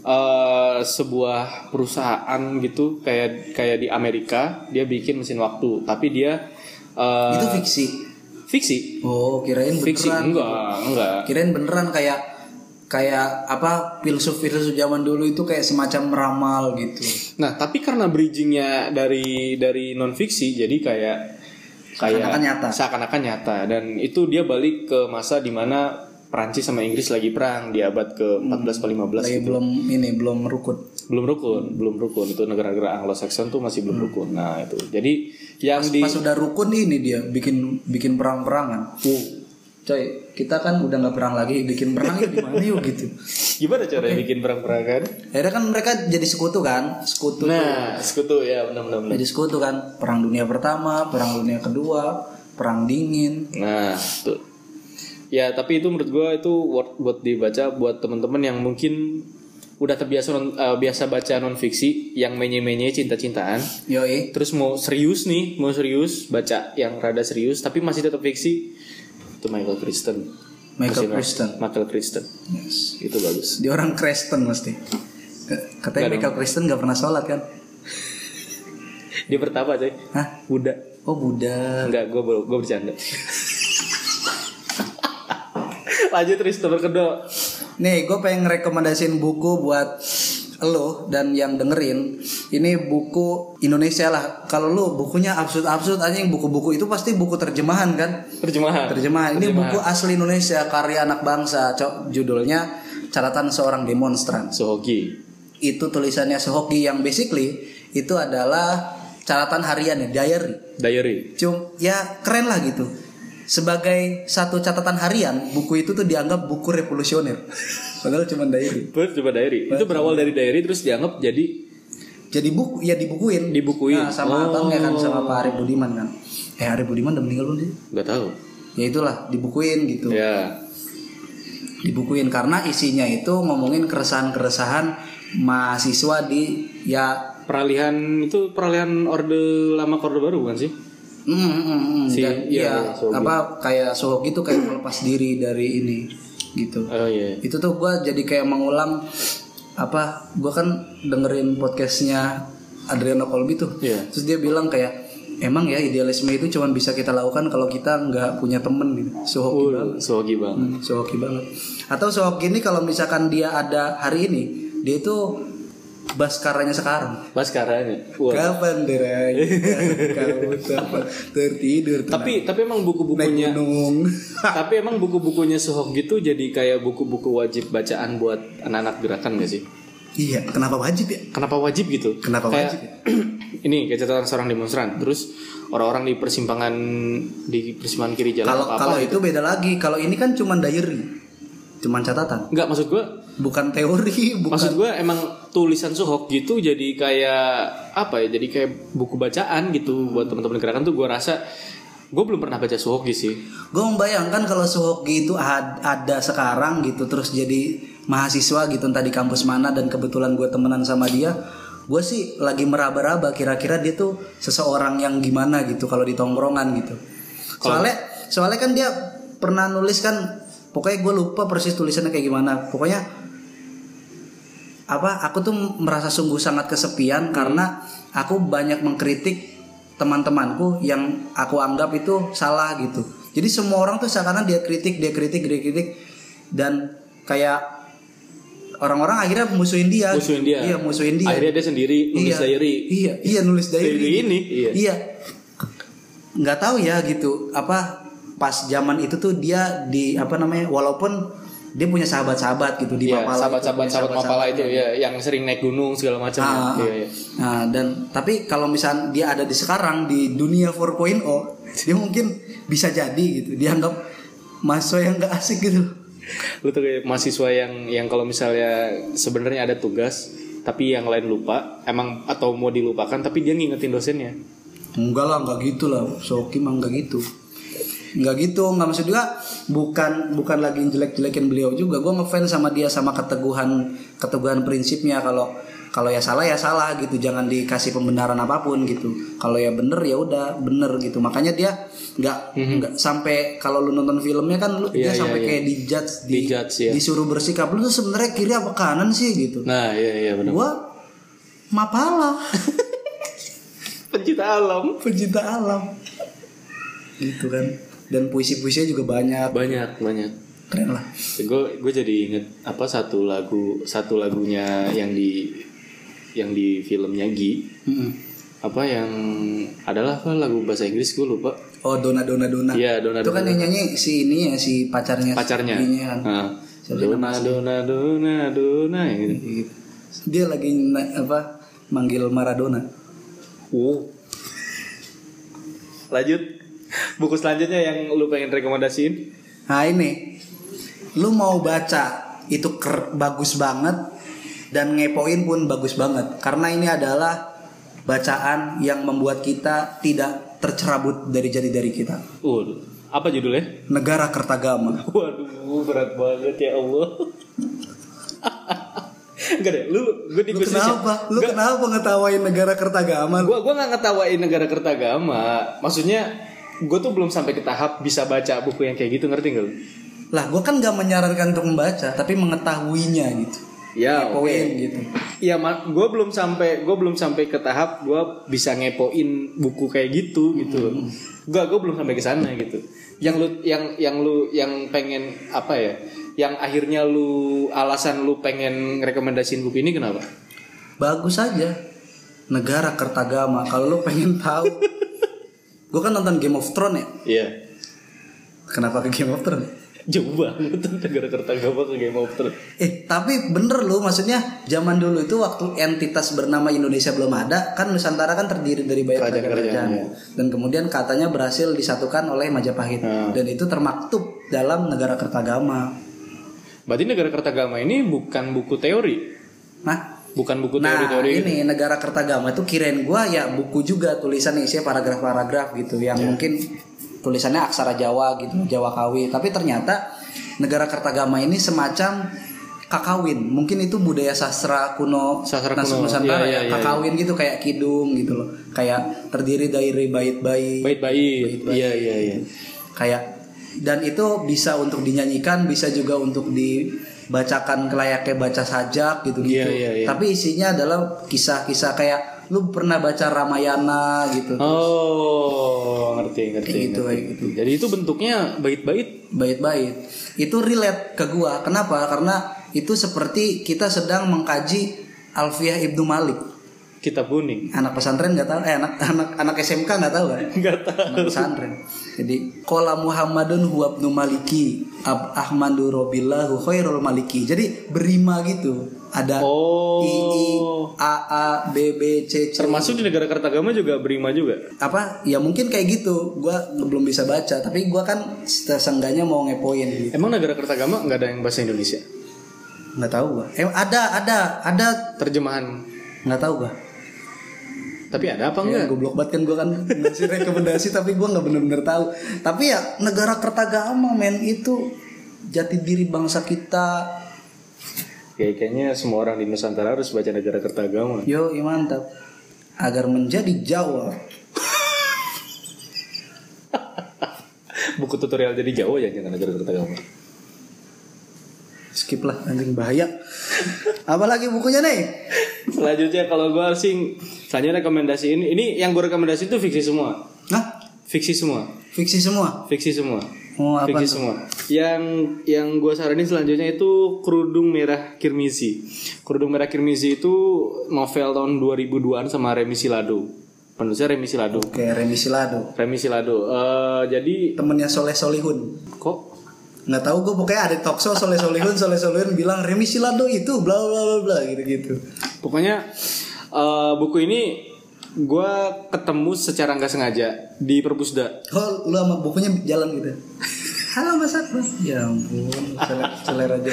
[SPEAKER 2] eh, sebuah perusahaan gitu kayak kayak di Amerika dia bikin mesin waktu tapi dia eh,
[SPEAKER 1] Itu fiksi.
[SPEAKER 2] fiksi
[SPEAKER 1] Oh, kirain
[SPEAKER 2] fiksi
[SPEAKER 1] beneran.
[SPEAKER 2] enggak
[SPEAKER 1] gitu.
[SPEAKER 2] enggak
[SPEAKER 1] kirain beneran kayak kayak apa filsuf-filsuf zaman dulu itu kayak semacam ramal gitu.
[SPEAKER 2] nah tapi karena bridgingnya dari dari non fiksi jadi kayak kayak
[SPEAKER 1] Seakan-akan nyata.
[SPEAKER 2] seakan-akan nyata dan itu dia balik ke masa dimana Perancis sama Inggris lagi perang di abad ke 14 ke 15
[SPEAKER 1] Hmm. Lagi belum ini belum rukun.
[SPEAKER 2] belum rukun belum rukun itu negara-negara Anglo-Saxon tuh masih belum rukun nah itu jadi yang di
[SPEAKER 1] Hmm. Pas udah rukun ini dia bikin bikin perang-perangan.
[SPEAKER 2] Uh,
[SPEAKER 1] Coy, kita kan udah nggak perang lagi, bikin perang ya gimana yuk gitu.
[SPEAKER 2] gimana cara bikin perang-perangan?
[SPEAKER 1] Akhirnya kan mereka jadi sekutu kan, sekutu.
[SPEAKER 2] Nah, sekutu ya benar-benar. benar.
[SPEAKER 1] Jadi sekutu kan, perang dunia pertama, perang dunia kedua, perang dingin.
[SPEAKER 2] Nah, tuh. Ya, tapi itu menurut gua itu worth buat dibaca buat teman-teman yang mungkin udah terbiasa non- eh, biasa baca non fiksi yang menye-menye cinta-cintaan.
[SPEAKER 1] Yoi,
[SPEAKER 2] Terus mau serius nih, mau serius baca yang rada serius tapi masih tetap fiksi. Itu Michael Kristen.
[SPEAKER 1] Michael
[SPEAKER 2] Mesin-
[SPEAKER 1] Kristen.
[SPEAKER 2] Michael Kristen.
[SPEAKER 1] Yes.
[SPEAKER 2] Itu bagus.
[SPEAKER 1] Dia orang Kristen mesti. Katanya Michael Kristen nggak pernah sholat kan?
[SPEAKER 2] Dia pertama coy.
[SPEAKER 1] Hah?
[SPEAKER 2] Buddha.
[SPEAKER 1] Oh Buddha.
[SPEAKER 2] Enggak, gue gue bercanda. Lanjut terus nomor kedua.
[SPEAKER 1] Nih, gue pengen rekomendasiin buku buat lo dan yang dengerin ini buku Indonesia lah kalau lo bukunya absurd-absurd anjing buku-buku itu pasti buku terjemahan kan
[SPEAKER 2] Terjemahan.
[SPEAKER 1] terjemahan ini buku asli Indonesia karya anak bangsa cok judulnya catatan seorang demonstran
[SPEAKER 2] Sohoki.
[SPEAKER 1] itu tulisannya Sehoki yang basically itu adalah catatan harian ya diary
[SPEAKER 2] Diary.
[SPEAKER 1] Cuma ya keren lah gitu. Sebagai satu catatan harian, buku itu tuh dianggap buku revolusioner. Padahal cuma diary.
[SPEAKER 2] Terus coba diary. Itu berawal dari diary terus dianggap jadi
[SPEAKER 1] Jadi buku ya dibukuin.
[SPEAKER 2] Dibukuin. Oh.
[SPEAKER 1] Nah, sama abangnya kan sama Pak Ari Budiman kan. Eh Ari Budiman udah meninggal belum sih?
[SPEAKER 2] nggak tahu.
[SPEAKER 1] Ya itulah dibukuin gitu.
[SPEAKER 2] Ya.
[SPEAKER 1] Dibukuin karena isinya itu ngomongin keresahan-keresahan mahasiswa di ya
[SPEAKER 2] Peralihan itu peralihan orde lama ke orde baru bukan sih?
[SPEAKER 1] mm, mm, mm,
[SPEAKER 2] Si-
[SPEAKER 1] dan
[SPEAKER 2] iya,
[SPEAKER 1] ya
[SPEAKER 2] Sohoki.
[SPEAKER 1] apa kayak Sohoki itu kayak melepas diri dari ini gitu.
[SPEAKER 2] Oh iya.
[SPEAKER 1] itu tuh gue jadi kayak mengulang apa gue kan dengerin podcastnya Adriano Colby tuh
[SPEAKER 2] Iya.
[SPEAKER 1] terus dia bilang kayak emang ya idealisme itu cuman bisa kita lakukan kalau kita nggak punya temen gitu sohoki banget
[SPEAKER 2] Uh, Sohoki bang.
[SPEAKER 1] Hmm, sohoki banget atau sohoki ini kalau misalkan dia ada hari ini dia itu baskaranya sekarang
[SPEAKER 2] Mas Karanya. Wah.
[SPEAKER 1] kapan derai kamu dapat tertidur tenang.
[SPEAKER 2] Tapi tapi emang
[SPEAKER 1] naik
[SPEAKER 2] buku-bukunya
[SPEAKER 1] gunung
[SPEAKER 2] tapi emang buku-bukunya Sohok gitu jadi kayak buku-buku wajib bacaan buat anak-anak gerakan gak sih?
[SPEAKER 1] iya kenapa wajib ya
[SPEAKER 2] Kenapa wajib gitu?
[SPEAKER 1] kenapa
[SPEAKER 2] Kayak-
[SPEAKER 1] wajib ya?
[SPEAKER 2] ini kayak catatan seorang demonstran terus orang-orang di persimpangan di persimpangan kiri jalan
[SPEAKER 1] Kalau
[SPEAKER 2] apa apa
[SPEAKER 1] kalau itu beda lagi. Kalau ini kan cuman diary. Cuman catatan.
[SPEAKER 2] nggak maksud gue
[SPEAKER 1] Bukan teori, bukan
[SPEAKER 2] maksud gue emang tulisan Sohok gitu jadi kayak apa ya jadi kayak buku bacaan gitu buat teman-teman gerakan tuh gue rasa gue belum pernah baca Sohoki sih
[SPEAKER 1] gue membayangkan kalau Sohoki itu ad- ada sekarang gitu terus jadi mahasiswa gitu entah di kampus mana dan kebetulan gue temenan sama dia gue sih lagi meraba-raba kira-kira dia tuh seseorang yang gimana gitu kalau di tongkrongan gitu soalnya soalnya kan dia pernah nulis kan pokoknya gue lupa persis tulisannya kayak gimana pokoknya apa aku tuh merasa sungguh sangat
[SPEAKER 2] Hmm.
[SPEAKER 1] kesepian karena aku banyak mengkritik teman-temanku yang aku anggap itu salah gitu jadi semua orang tuh seakan dia kritik dia kritik dia kritik dan kayak orang-orang akhirnya musuhin dia
[SPEAKER 2] musuhin dia
[SPEAKER 1] iya musuhin dia
[SPEAKER 2] akhirnya dia sendiri nulis
[SPEAKER 1] iya,
[SPEAKER 2] diary
[SPEAKER 1] iya iya nulis diary
[SPEAKER 2] Diary ini, iya.
[SPEAKER 1] nggak tahu ya gitu apa pas zaman itu tuh dia di apa namanya walaupun dia punya sahabat-sahabat gitu di
[SPEAKER 2] Iya,
[SPEAKER 1] Mapala itu,
[SPEAKER 2] sahabat-sahabat
[SPEAKER 1] punya
[SPEAKER 2] sahabat Mapala itu ya yang sering naik gunung segala macam ya.
[SPEAKER 1] Ah,
[SPEAKER 2] Iya, iya.
[SPEAKER 1] Nah, dan tapi kalau misalnya dia ada di sekarang di dunia 4.0, dia mungkin bisa jadi gitu. Dianggap mahasiswa yang gak asik gitu.
[SPEAKER 2] lu tuh kayak mahasiswa yang yang kalau misalnya sebenarnya ada tugas tapi yang lain lupa emang atau mau dilupakan tapi dia ngingetin dosennya
[SPEAKER 1] Enggak lah, enggak gitu lah. Soki mah enggak gitu. Enggak gitu, enggak maksud juga bukan bukan lagi jelek-jelekin beliau juga. Gue ngefans sama dia sama keteguhan keteguhan prinsipnya kalau kalau ya salah ya salah gitu, jangan dikasih pembenaran apapun gitu. Kalau ya bener ya udah bener gitu. Makanya dia nggak nggak sampai kalau lu nonton filmnya kan lu dia
[SPEAKER 2] Mhm. Iya, iya,
[SPEAKER 1] sampai
[SPEAKER 2] iya.
[SPEAKER 1] kayak dijudge, di,
[SPEAKER 2] Dijudge, iya.
[SPEAKER 1] disuruh bersikap lu tuh sebenarnya kiri apa kanan sih gitu.
[SPEAKER 2] nah iya iya benar
[SPEAKER 1] Gua mapala
[SPEAKER 2] pencinta alam
[SPEAKER 1] pecinta alam gitu kan dan puisi-puisinya juga banyak
[SPEAKER 2] banyak banyak
[SPEAKER 1] keren lah
[SPEAKER 2] gue gue jadi inget apa satu lagu satu lagunya yang di yang di filmnya Gi
[SPEAKER 1] Mm-mm.
[SPEAKER 2] apa yang adalah apa lagu bahasa Inggris gue lupa
[SPEAKER 1] oh dona dona dona
[SPEAKER 2] Iya, Dona
[SPEAKER 1] itu kan
[SPEAKER 2] Dona
[SPEAKER 1] yang nyanyi si ini ya si pacarnya
[SPEAKER 2] pacarnya
[SPEAKER 1] Ininya kan.
[SPEAKER 2] Ah.
[SPEAKER 1] Siapa
[SPEAKER 2] dona dona dona dona yang gitu.
[SPEAKER 1] Gitu. dia lagi na- apa manggil Maradona Nah,
[SPEAKER 2] Wow. Lanjut. Buku selanjutnya yang lu pengen rekomendasiin?
[SPEAKER 1] nah ini lu mau baca itu ker- bagus banget dan ngepoin pun bagus banget karena ini adalah bacaan yang membuat kita tidak tercerabut dari jati dari kita
[SPEAKER 2] Waduh. Apa judulnya?
[SPEAKER 1] negara Kertagama
[SPEAKER 2] Waduh, berat banget ya Allah. Enggak deh, lu gue di
[SPEAKER 1] Lu kenapa? Lu kenapa ngetawain negara Kertagama?
[SPEAKER 2] Gue gue nggak ngetawain negara kertagama. Maksudnya gue tuh belum sampai ke tahap bisa baca buku yang kayak gitu ngerti gak lu?
[SPEAKER 1] Lah, gue kan gak menyarankan untuk membaca, tapi mengetahuinya gitu.
[SPEAKER 2] Ya, oke.
[SPEAKER 1] Poin gitu.
[SPEAKER 2] Iya, gue belum sampai gue belum sampai ke tahap gue bisa ngepoin buku kayak gitu gitu.
[SPEAKER 1] Hmm.
[SPEAKER 2] Gak, gue belum sampai ke sana gitu. Yang lu yang yang lu yang pengen apa ya? Yang akhirnya lu alasan lu pengen rekomendasiin buku ini kenapa?
[SPEAKER 1] bagus aja negara Kertagama kalau lo pengen tahu gue kan nonton Game of Thrones ya
[SPEAKER 2] Iya.
[SPEAKER 1] kenapa ke Game of Thrones
[SPEAKER 2] Jauh banget negara Kertagama ke Game of Thrones.
[SPEAKER 1] eh tapi bener lo maksudnya zaman dulu itu waktu entitas bernama Indonesia belum ada kan Nusantara kan terdiri dari banyak
[SPEAKER 2] Kerajaan-
[SPEAKER 1] kerajaan-kerajaan
[SPEAKER 2] kerajaan, ya.
[SPEAKER 1] dan kemudian katanya berhasil disatukan oleh Majapahit
[SPEAKER 2] Hmm.
[SPEAKER 1] dan itu termaktub dalam negara Kertagama
[SPEAKER 2] Berarti negara Kertagama ini bukan buku teori,
[SPEAKER 1] nah
[SPEAKER 2] bukan buku
[SPEAKER 1] Nah
[SPEAKER 2] teori-teori. gitu.
[SPEAKER 1] ini negara kertagama itu kirain gua ya buku juga tulisannya isinya paragraf-paragraf gitu yang
[SPEAKER 2] Iya.
[SPEAKER 1] mungkin tulisannya aksara Jawa gitu Jawa Kawi tapi ternyata negara kertagama ini semacam kakawin mungkin itu budaya sastra kuno
[SPEAKER 2] Sastra
[SPEAKER 1] Nas-
[SPEAKER 2] kuno.
[SPEAKER 1] Nusantara
[SPEAKER 2] Iya,
[SPEAKER 1] ya,
[SPEAKER 2] iya, iya,
[SPEAKER 1] kakawin gitu kayak kidung gitu loh kayak terdiri dari bait-bait
[SPEAKER 2] Baik-baik. Iya iya iya.
[SPEAKER 1] kayak dan itu bisa untuk dinyanyikan bisa juga untuk dibacakan kelayaknya baca sajak gitu gitu
[SPEAKER 2] Iya, iya, iya.
[SPEAKER 1] tapi isinya adalah kisah-kisah kayak lu pernah baca Ramayana gitu
[SPEAKER 2] Oh, ngerti ngerti.
[SPEAKER 1] Kayak gitu,
[SPEAKER 2] ngerti,
[SPEAKER 1] kayak
[SPEAKER 2] ngerti. Jadi itu bentuknya bait-bait.
[SPEAKER 1] bait-bait itu relate ke gua kenapa karena itu seperti kita sedang mengkaji Alfiah Ibnu Malik
[SPEAKER 2] Kitab kuning.
[SPEAKER 1] anak pesantren nggak tahu eh anak anak anak SMK nggak tahu kan
[SPEAKER 2] Enggak tahu.
[SPEAKER 1] anak pesantren. Jadi kola Muhammadun huwa ibnu maliki ab Ahmadu robillahu khairul maliki. Jadi berima gitu. Ada
[SPEAKER 2] Oh.
[SPEAKER 1] I I A A B B C C
[SPEAKER 2] Termasuk di negara Kertagama juga berima juga.
[SPEAKER 1] apa ya mungkin kayak gitu gua belum bisa baca tapi gua kan seenggaknya mau ngepoin gitu
[SPEAKER 2] Emang negara Kertagama nggak ada yang bahasa Indonesia?
[SPEAKER 1] nggak tahu gua eh, ada ada ada
[SPEAKER 2] Terjemahan.
[SPEAKER 1] nggak tahu gua
[SPEAKER 2] Tapi ada apa
[SPEAKER 1] Ya,
[SPEAKER 2] enggak?
[SPEAKER 1] goblok banget kan gue kan ngasih rekomendasi tapi gue nggak bener-bener tahu. Tapi ya negara kertagama men itu jati diri bangsa kita.
[SPEAKER 2] Ya, kayaknya semua orang di Nusantara harus baca negara Kertagama.
[SPEAKER 1] Yo, ya mantap. Agar menjadi Jawa.
[SPEAKER 2] Buku tutorial jadi Jawa ya jangan negara Kertagama.
[SPEAKER 1] Skip lah anjing bahaya. Apalagi bukunya nih?
[SPEAKER 2] Selanjutnya kalau gue sih selanjutnya rekomendasi ini ini yang gue rekomendasi itu fiksi semua.
[SPEAKER 1] Nah,
[SPEAKER 2] Fiksi semua.
[SPEAKER 1] fiksi semua.
[SPEAKER 2] Fiksi semua.
[SPEAKER 1] Mau apa?
[SPEAKER 2] Fiksi
[SPEAKER 1] tuh?
[SPEAKER 2] semua. Yang yang gue saranin selanjutnya itu Kerudung Merah Kirmizi. Kerudung Merah Kirmizi itu novel tahun 2002-an sama Remi Silado. Penulisnya Remi Silado.
[SPEAKER 1] Oke, Remi Silado.
[SPEAKER 2] Remi Silado. Eh, jadi
[SPEAKER 1] Temennya Soleh Solihun.
[SPEAKER 2] kok
[SPEAKER 1] Nggak tahu gue pokoknya ada talkshow Soleh Solihun, Soleh Solihun bilang Remi Silado itu bla bla bla bla gitu-gitu.
[SPEAKER 2] Pokoknya eh, buku ini gue ketemu secara nggak sengaja di perpusda.
[SPEAKER 1] Oh, lu sama bukunya jalan gitu. Halo Mas Akbar. Ya ampun, selera- selera aja.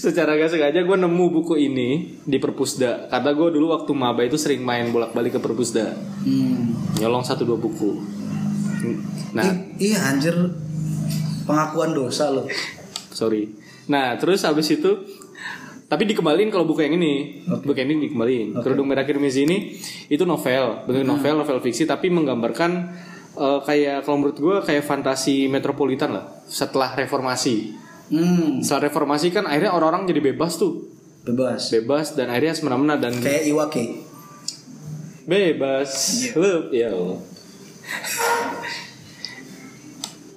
[SPEAKER 2] secara nggak sengaja gue nemu buku ini di perpusda. Kata gue dulu waktu maba itu sering main bolak-balik ke perpusda.
[SPEAKER 1] Hmm.
[SPEAKER 2] Nyolong satu dua buku. Nah,
[SPEAKER 1] I- iya anjir pengakuan dosa lo.
[SPEAKER 2] sorry. Nah, terus habis itu tapi dikembalin kalau buku yang ini, buku yang ini dikembalin. Kerudung Merah Kirmizi ini itu novel, bentuk
[SPEAKER 1] Hmm.
[SPEAKER 2] novel, novel fiksi tapi menggambarkan eh, kayak kalau menurut gue kayak fantasi metropolitan lah setelah reformasi.
[SPEAKER 1] Hmm,
[SPEAKER 2] Setelah reformasi kan akhirnya orang-orang jadi bebas tuh,
[SPEAKER 1] bebas.
[SPEAKER 2] bebas dan akhirnya semena-mena dan
[SPEAKER 1] Kayak Iwake.
[SPEAKER 2] bebas.
[SPEAKER 1] Iya.
[SPEAKER 2] Lu- ya Allah.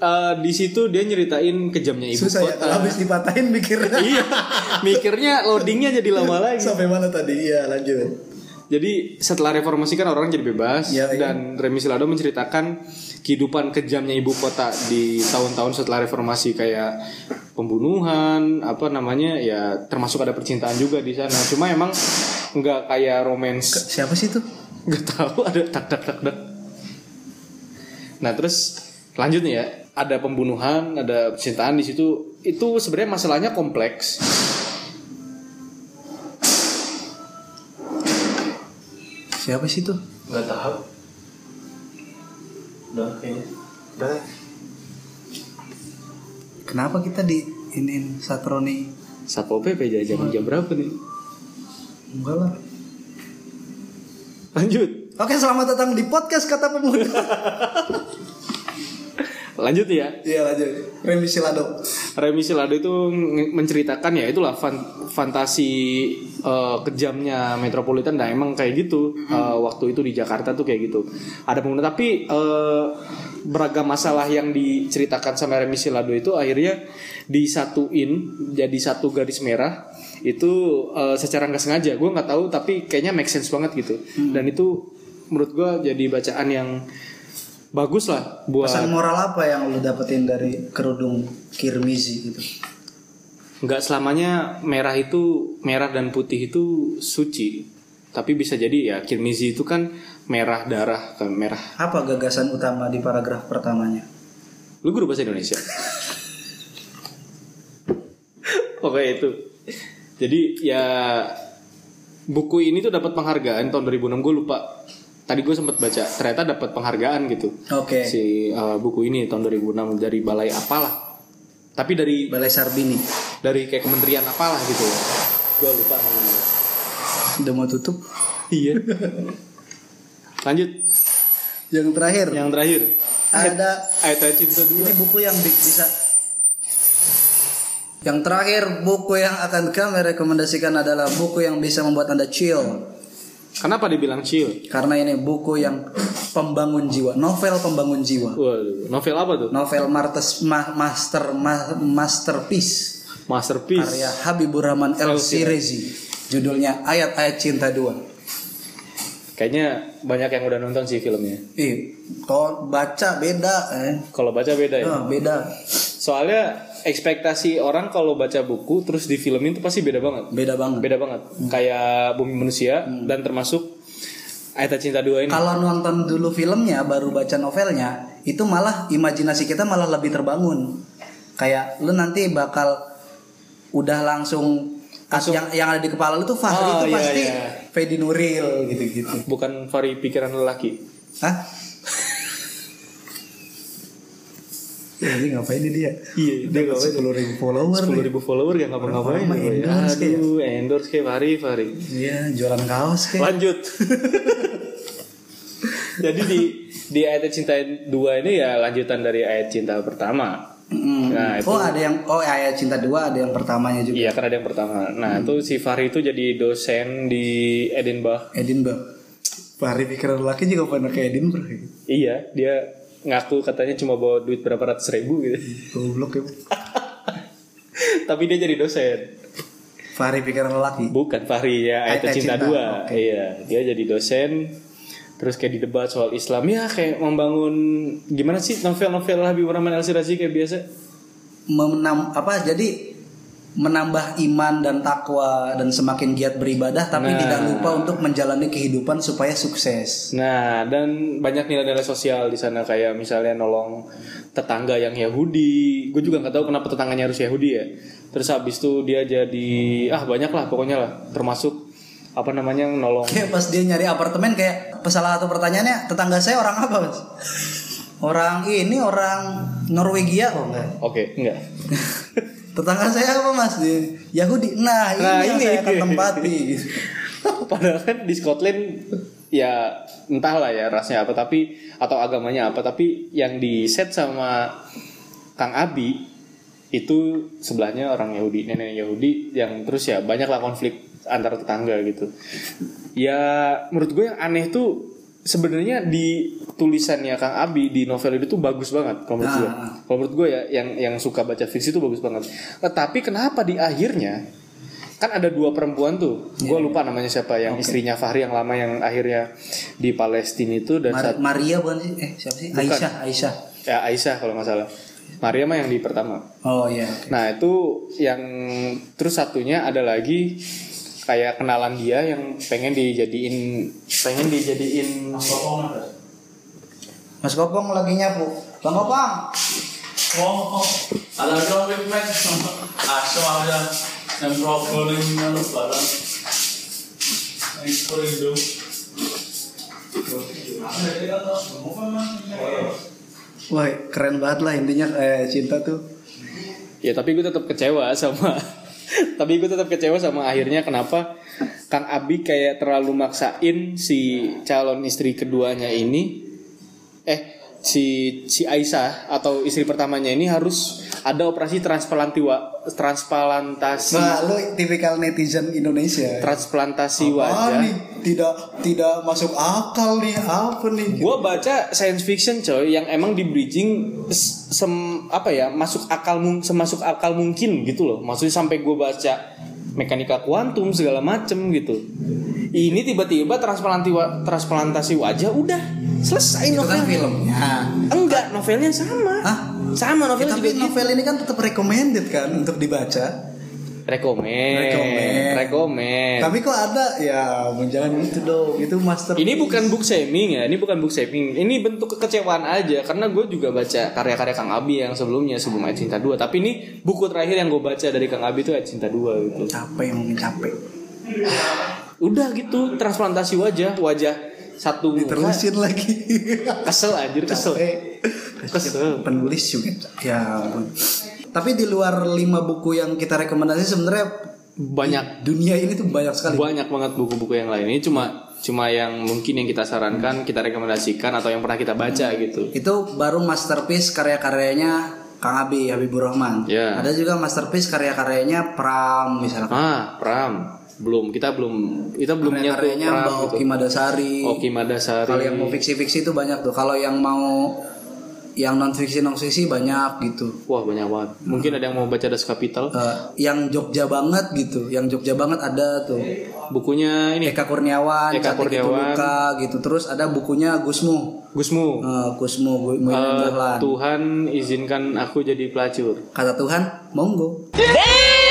[SPEAKER 2] Eh, di situ dia nyeritain kejamnya ibu
[SPEAKER 1] Susah ya,
[SPEAKER 2] kota.
[SPEAKER 1] kalau habis dipatahin mikirnya
[SPEAKER 2] iya, mikirnya loadingnya jadi lama lagi.
[SPEAKER 1] sampai mana tadi? Iya, lanjut.
[SPEAKER 2] Jadi setelah reformasi kan orang jadi bebas
[SPEAKER 1] Ya, iya.
[SPEAKER 2] dan Remi Silado menceritakan kehidupan kejamnya ibu kota di tahun-tahun setelah reformasi kayak pembunuhan apa namanya ya termasuk ada percintaan juga di sana. Cuma emang nggak kayak romance
[SPEAKER 1] Siapa sih itu?
[SPEAKER 2] nggak tahu ada tak tak tak tak. Nah terus lanjut nih ya ada pembunuhan ada percintaan di situ itu sebenarnya masalahnya kompleks
[SPEAKER 1] Siapa sih itu?
[SPEAKER 2] Gak tahu. Udah kayaknya. Udah.
[SPEAKER 1] Kenapa kita di inin Satroni?
[SPEAKER 2] Satpol PP jajan jam berapa nih?
[SPEAKER 1] Enggak lah.
[SPEAKER 2] Lanjut.
[SPEAKER 1] Oke, selamat datang di podcast Kata Pemuda.
[SPEAKER 2] Lanjut ya.
[SPEAKER 1] Iya, lanjut. Remi Silado.
[SPEAKER 2] Remi Silado itu nge- menceritakan ya itulah fan- fantasi eh, kejamnya metropolitan dan emang kayak gitu Eh, waktu itu di Jakarta tuh kayak gitu ada pengguna tapi eh, beragam masalah yang diceritakan sama Remi Silado itu akhirnya disatuin jadi satu garis merah itu eh, secara nggak sengaja gue nggak tahu tapi kayaknya make sense banget gitu dan itu menurut gue jadi bacaan yang bagus lah buat
[SPEAKER 1] Pesan moral apa yang lu dapetin dari kerudung Kirmizi gitu?
[SPEAKER 2] nggak selamanya merah itu merah dan putih itu suci tapi bisa jadi ya kirmizi itu kan merah darah kan merah
[SPEAKER 1] Apa gagasan utama di paragraf pertamanya?
[SPEAKER 2] lu guru bahasa Indonesia oke itu jadi ya buku ini tuh dapat penghargaan tahun 2006 gue lupa tadi gue sempat baca ternyata dapat penghargaan gitu
[SPEAKER 1] Oke.
[SPEAKER 2] si uh, buku ini tahun 2006 dari balai apalah tapi dari
[SPEAKER 1] Balai Sarbini.
[SPEAKER 2] dari kayak kementerian apalah gitu gue lupa namanya.
[SPEAKER 1] Udah mau tutup.
[SPEAKER 2] iya lanjut
[SPEAKER 1] Yang terakhir
[SPEAKER 2] yang terakhir
[SPEAKER 1] ada
[SPEAKER 2] Aita Cinta 2
[SPEAKER 1] ini buku yang bi- bisa yang terakhir buku yang akan kami rekomendasikan adalah buku yang bisa membuat anda chill
[SPEAKER 2] kenapa dibilang chill
[SPEAKER 1] karena ini buku yang pembangun jiwa novel pembangun jiwa
[SPEAKER 2] Waduh, novel apa tuh?
[SPEAKER 1] novel Martes ma- master ma- masterpiece
[SPEAKER 2] Masterpiece.
[SPEAKER 1] karya Habibur Rahman El Sirezi judulnya ayat-ayat cinta dua
[SPEAKER 2] Kayaknya banyak yang udah nonton sih filmnya.
[SPEAKER 1] ih kalau baca beda eh
[SPEAKER 2] Kalau baca beda ya.
[SPEAKER 1] Ah, beda
[SPEAKER 2] Soalnya ekspektasi orang kalau baca buku terus di filmin tuh pasti beda banget.
[SPEAKER 1] beda banget
[SPEAKER 2] Beda banget. Kayak Bumi Manusia dan termasuk Aita Cinta 2 ini.
[SPEAKER 1] kalau nonton dulu filmnya baru baca novelnya itu malah imajinasi kita malah lebih terbangun kayak lu nanti bakal udah langsung, yang yang ada di kepala lu tuh Fahri
[SPEAKER 2] Oh,
[SPEAKER 1] itu
[SPEAKER 2] iya,
[SPEAKER 1] pasti
[SPEAKER 2] iya.
[SPEAKER 1] Fedi Nuril gitu-gitu
[SPEAKER 2] Bukan vari pikiran lelaki.
[SPEAKER 1] Hah? Ya, ini ngapain ini dia?
[SPEAKER 2] Iya, dia
[SPEAKER 1] Dapat 10.000 follower.
[SPEAKER 2] 10
[SPEAKER 1] nih.
[SPEAKER 2] ribu follower gak ngapa-ngapain.
[SPEAKER 1] Orang-orang endorse kayak.
[SPEAKER 2] Boy. ya. Aduh, ya? endorse kayak Fahri, Fahri.
[SPEAKER 1] Iya, jualan kaos kayak.
[SPEAKER 2] Lanjut. Jadi di di ayat cinta 2 ini ya lanjutan dari ayat cinta pertama.
[SPEAKER 1] Mm.
[SPEAKER 2] Nah, itu-
[SPEAKER 1] oh, ada yang oh ayat cinta dua ada yang pertamanya juga.
[SPEAKER 2] Iya kan ada yang pertama.
[SPEAKER 1] Hmm.
[SPEAKER 2] Nah itu si Fahri itu jadi dosen di Edinburgh.
[SPEAKER 1] Edinburgh. Fahri pikiran laki juga pernah ke Edinburgh. ya.
[SPEAKER 2] Iya dia ngaku katanya cuma bawa duit berapa ratus ribu gitu.
[SPEAKER 1] Goblok ya.
[SPEAKER 2] Tapi dia jadi dosen.
[SPEAKER 1] Fahri pikiran laki.
[SPEAKER 2] Bukan Fahri ya
[SPEAKER 1] Ayat
[SPEAKER 2] Ayat Cinta
[SPEAKER 1] Cinta,
[SPEAKER 2] dua.
[SPEAKER 1] oke.
[SPEAKER 2] Iya dia jadi dosen. Terus kayak didebat soal Islam ya kayak membangun gimana sih novel-novel Habibur Rahman Al Sirazi kayak biasa.
[SPEAKER 1] menam apa jadi menambah iman dan takwa dan semakin giat beribadah tapi
[SPEAKER 2] Nah.
[SPEAKER 1] tidak lupa untuk menjalani kehidupan supaya sukses.
[SPEAKER 2] Nah, dan banyak nilai-nilai sosial di sana kayak misalnya nolong tetangga yang Yahudi. Gue juga nggak tahu kenapa tetangganya harus Yahudi ya. Terus habis itu dia jadi ah banyak lah pokoknya lah, termasuk apa namanya nolong.
[SPEAKER 1] Kayak pas dia nyari apartemen kayak salah satu pertanyaannya tetangga saya orang apa mas? Orang ini orang Norwegia kok enggak?
[SPEAKER 2] Oke, enggak.
[SPEAKER 1] Tetangga saya apa mas? Dia, Yahudi. Nah ini
[SPEAKER 2] Nah,
[SPEAKER 1] yang
[SPEAKER 2] ini.
[SPEAKER 1] saya akan tempati. gitu.
[SPEAKER 2] Padahal kan di Scotland ya entahlah ya rasnya apa tapi atau agamanya apa tapi yang di set sama Kang Abi itu sebelahnya orang Yahudi nenek Yahudi yang terus ya banyaklah konflik antara tetangga gitu ya menurut gue yang aneh tuh sebenarnya di tulisannya Kang Abi di novel itu tuh bagus banget kalau menurut gue
[SPEAKER 1] Ah.
[SPEAKER 2] kalau menurut gue ya yang yang suka baca fiksi itu bagus banget tetapi kenapa di akhirnya kan ada dua perempuan tuh
[SPEAKER 1] Iya,
[SPEAKER 2] gue lupa namanya siapa yang istrinya Fahri yang lama yang akhirnya di Palestina itu dan
[SPEAKER 1] Mar-
[SPEAKER 2] satu
[SPEAKER 1] Maria bukan sih? Eh siapa sih?
[SPEAKER 2] Bukan.
[SPEAKER 1] Aisyah. Aisyah.
[SPEAKER 2] ya Aisyah kalau nggak salah Maria mah yang di pertama
[SPEAKER 1] Oh iya. oke.
[SPEAKER 2] Nah itu yang terus satunya ada lagi kayak kenalan dia yang pengen dijadiin pengen dijadiin
[SPEAKER 1] Mas Kopong lagi nyapu. Bang Kopong.
[SPEAKER 3] Oh, ada drawing man. Asal ada yang problem dengan barang. Yang sering dong.
[SPEAKER 1] Wah keren banget lah intinya eh, cinta tuh.
[SPEAKER 2] ya tapi gue tetap kecewa sama tapi gue tetap kecewa sama akhirnya kenapa Kang Abi kayak terlalu maksain si calon istri keduanya ini eh si si Aisyah atau istri pertamanya ini harus ada operasi transplantasi transplantasi
[SPEAKER 1] Nah, lu tipikal netizen Indonesia.
[SPEAKER 2] transplantasi
[SPEAKER 1] Ah,
[SPEAKER 2] wajah
[SPEAKER 1] nih, tidak tidak masuk akal nih apa nih?
[SPEAKER 2] Gua baca science fiction coy yang emang di bridging s- sem apa ya masuk akal mung semasuk akal mungkin gitu loh maksudnya sampai gue baca mekanika kuantum segala macem gitu. Ini tiba-tiba transplantasi wa- transplantasi wajah udah selesai
[SPEAKER 1] itu kan
[SPEAKER 2] novelnya.
[SPEAKER 1] filmnya
[SPEAKER 2] Enggak, novelnya sama.
[SPEAKER 1] Hah?
[SPEAKER 2] Sama
[SPEAKER 1] Ya,
[SPEAKER 2] novelnya
[SPEAKER 1] tapi
[SPEAKER 2] juga gitu.
[SPEAKER 1] novel ini kan tetap recommended kan untuk dibaca
[SPEAKER 2] Rekomen.
[SPEAKER 1] Rekomen.
[SPEAKER 2] Rekomen.
[SPEAKER 1] tapi kok ada ya jangan gitu dong itu master
[SPEAKER 2] Ini bukan book shaming ya, ini bukan book shaming. Ini bentuk kekecewaan aja karena gue juga baca karya-karya Kang Abi yang sebelumnya sebelum Ayat Cinta 2, tapi ini buku terakhir yang gue baca dari Kang Abi itu Ayat Cinta 2 gitu.
[SPEAKER 1] capek mungkin capek
[SPEAKER 2] Udah gitu, transplantasi wajah, wajah satu muka.
[SPEAKER 1] terusin lagi
[SPEAKER 2] Kesel anjir, kesel. eh. Kesel.
[SPEAKER 1] penulis juga ya ampun tapi di luar lima buku yang kita rekomendasi sebenarnya
[SPEAKER 2] Banyak
[SPEAKER 1] dunia ini tuh banyak sekali
[SPEAKER 2] banyak banget buku-buku yang lain. Ini cuma cuma yang mungkin yang kita sarankan, kita rekomendasikan atau yang pernah kita baca gitu.
[SPEAKER 1] itu baru masterpiece karya-karyanya Kang Abi Habibur Rahman
[SPEAKER 2] Ya.
[SPEAKER 1] ada juga masterpiece karya-karyanya Pram misalnya
[SPEAKER 2] Ah, Pram. Belum, kita belum kita belum nyentuh
[SPEAKER 1] karya-karyanya
[SPEAKER 2] Pram
[SPEAKER 1] Mbak
[SPEAKER 2] gitu.
[SPEAKER 1] Oki Madasari
[SPEAKER 2] Oki Madasari.
[SPEAKER 1] kalau yang mau fiksi-fiksi itu banyak tuh kalau yang mau yang non fiksi non fiksi banyak gitu
[SPEAKER 2] Wah banyak banget. Mungkin ada yang mau baca Das Kapital.
[SPEAKER 1] Eh, yang Jogja banget gitu yang Jogja banget ada tuh
[SPEAKER 2] Bukunya ini
[SPEAKER 1] Eka Kurniawan,
[SPEAKER 2] Eka
[SPEAKER 1] Cantik Itu
[SPEAKER 2] Kurniawan.
[SPEAKER 1] Luka gitu. Terus ada bukunya Gusmu.
[SPEAKER 2] Gusmu.
[SPEAKER 1] Eh, Gusmu Gu- Muhyiddin
[SPEAKER 2] Eh,
[SPEAKER 1] Dahlan.
[SPEAKER 2] Tuhan izinkan aku jadi pelacur.
[SPEAKER 1] Kata Tuhan, monggo.
[SPEAKER 4] Damn!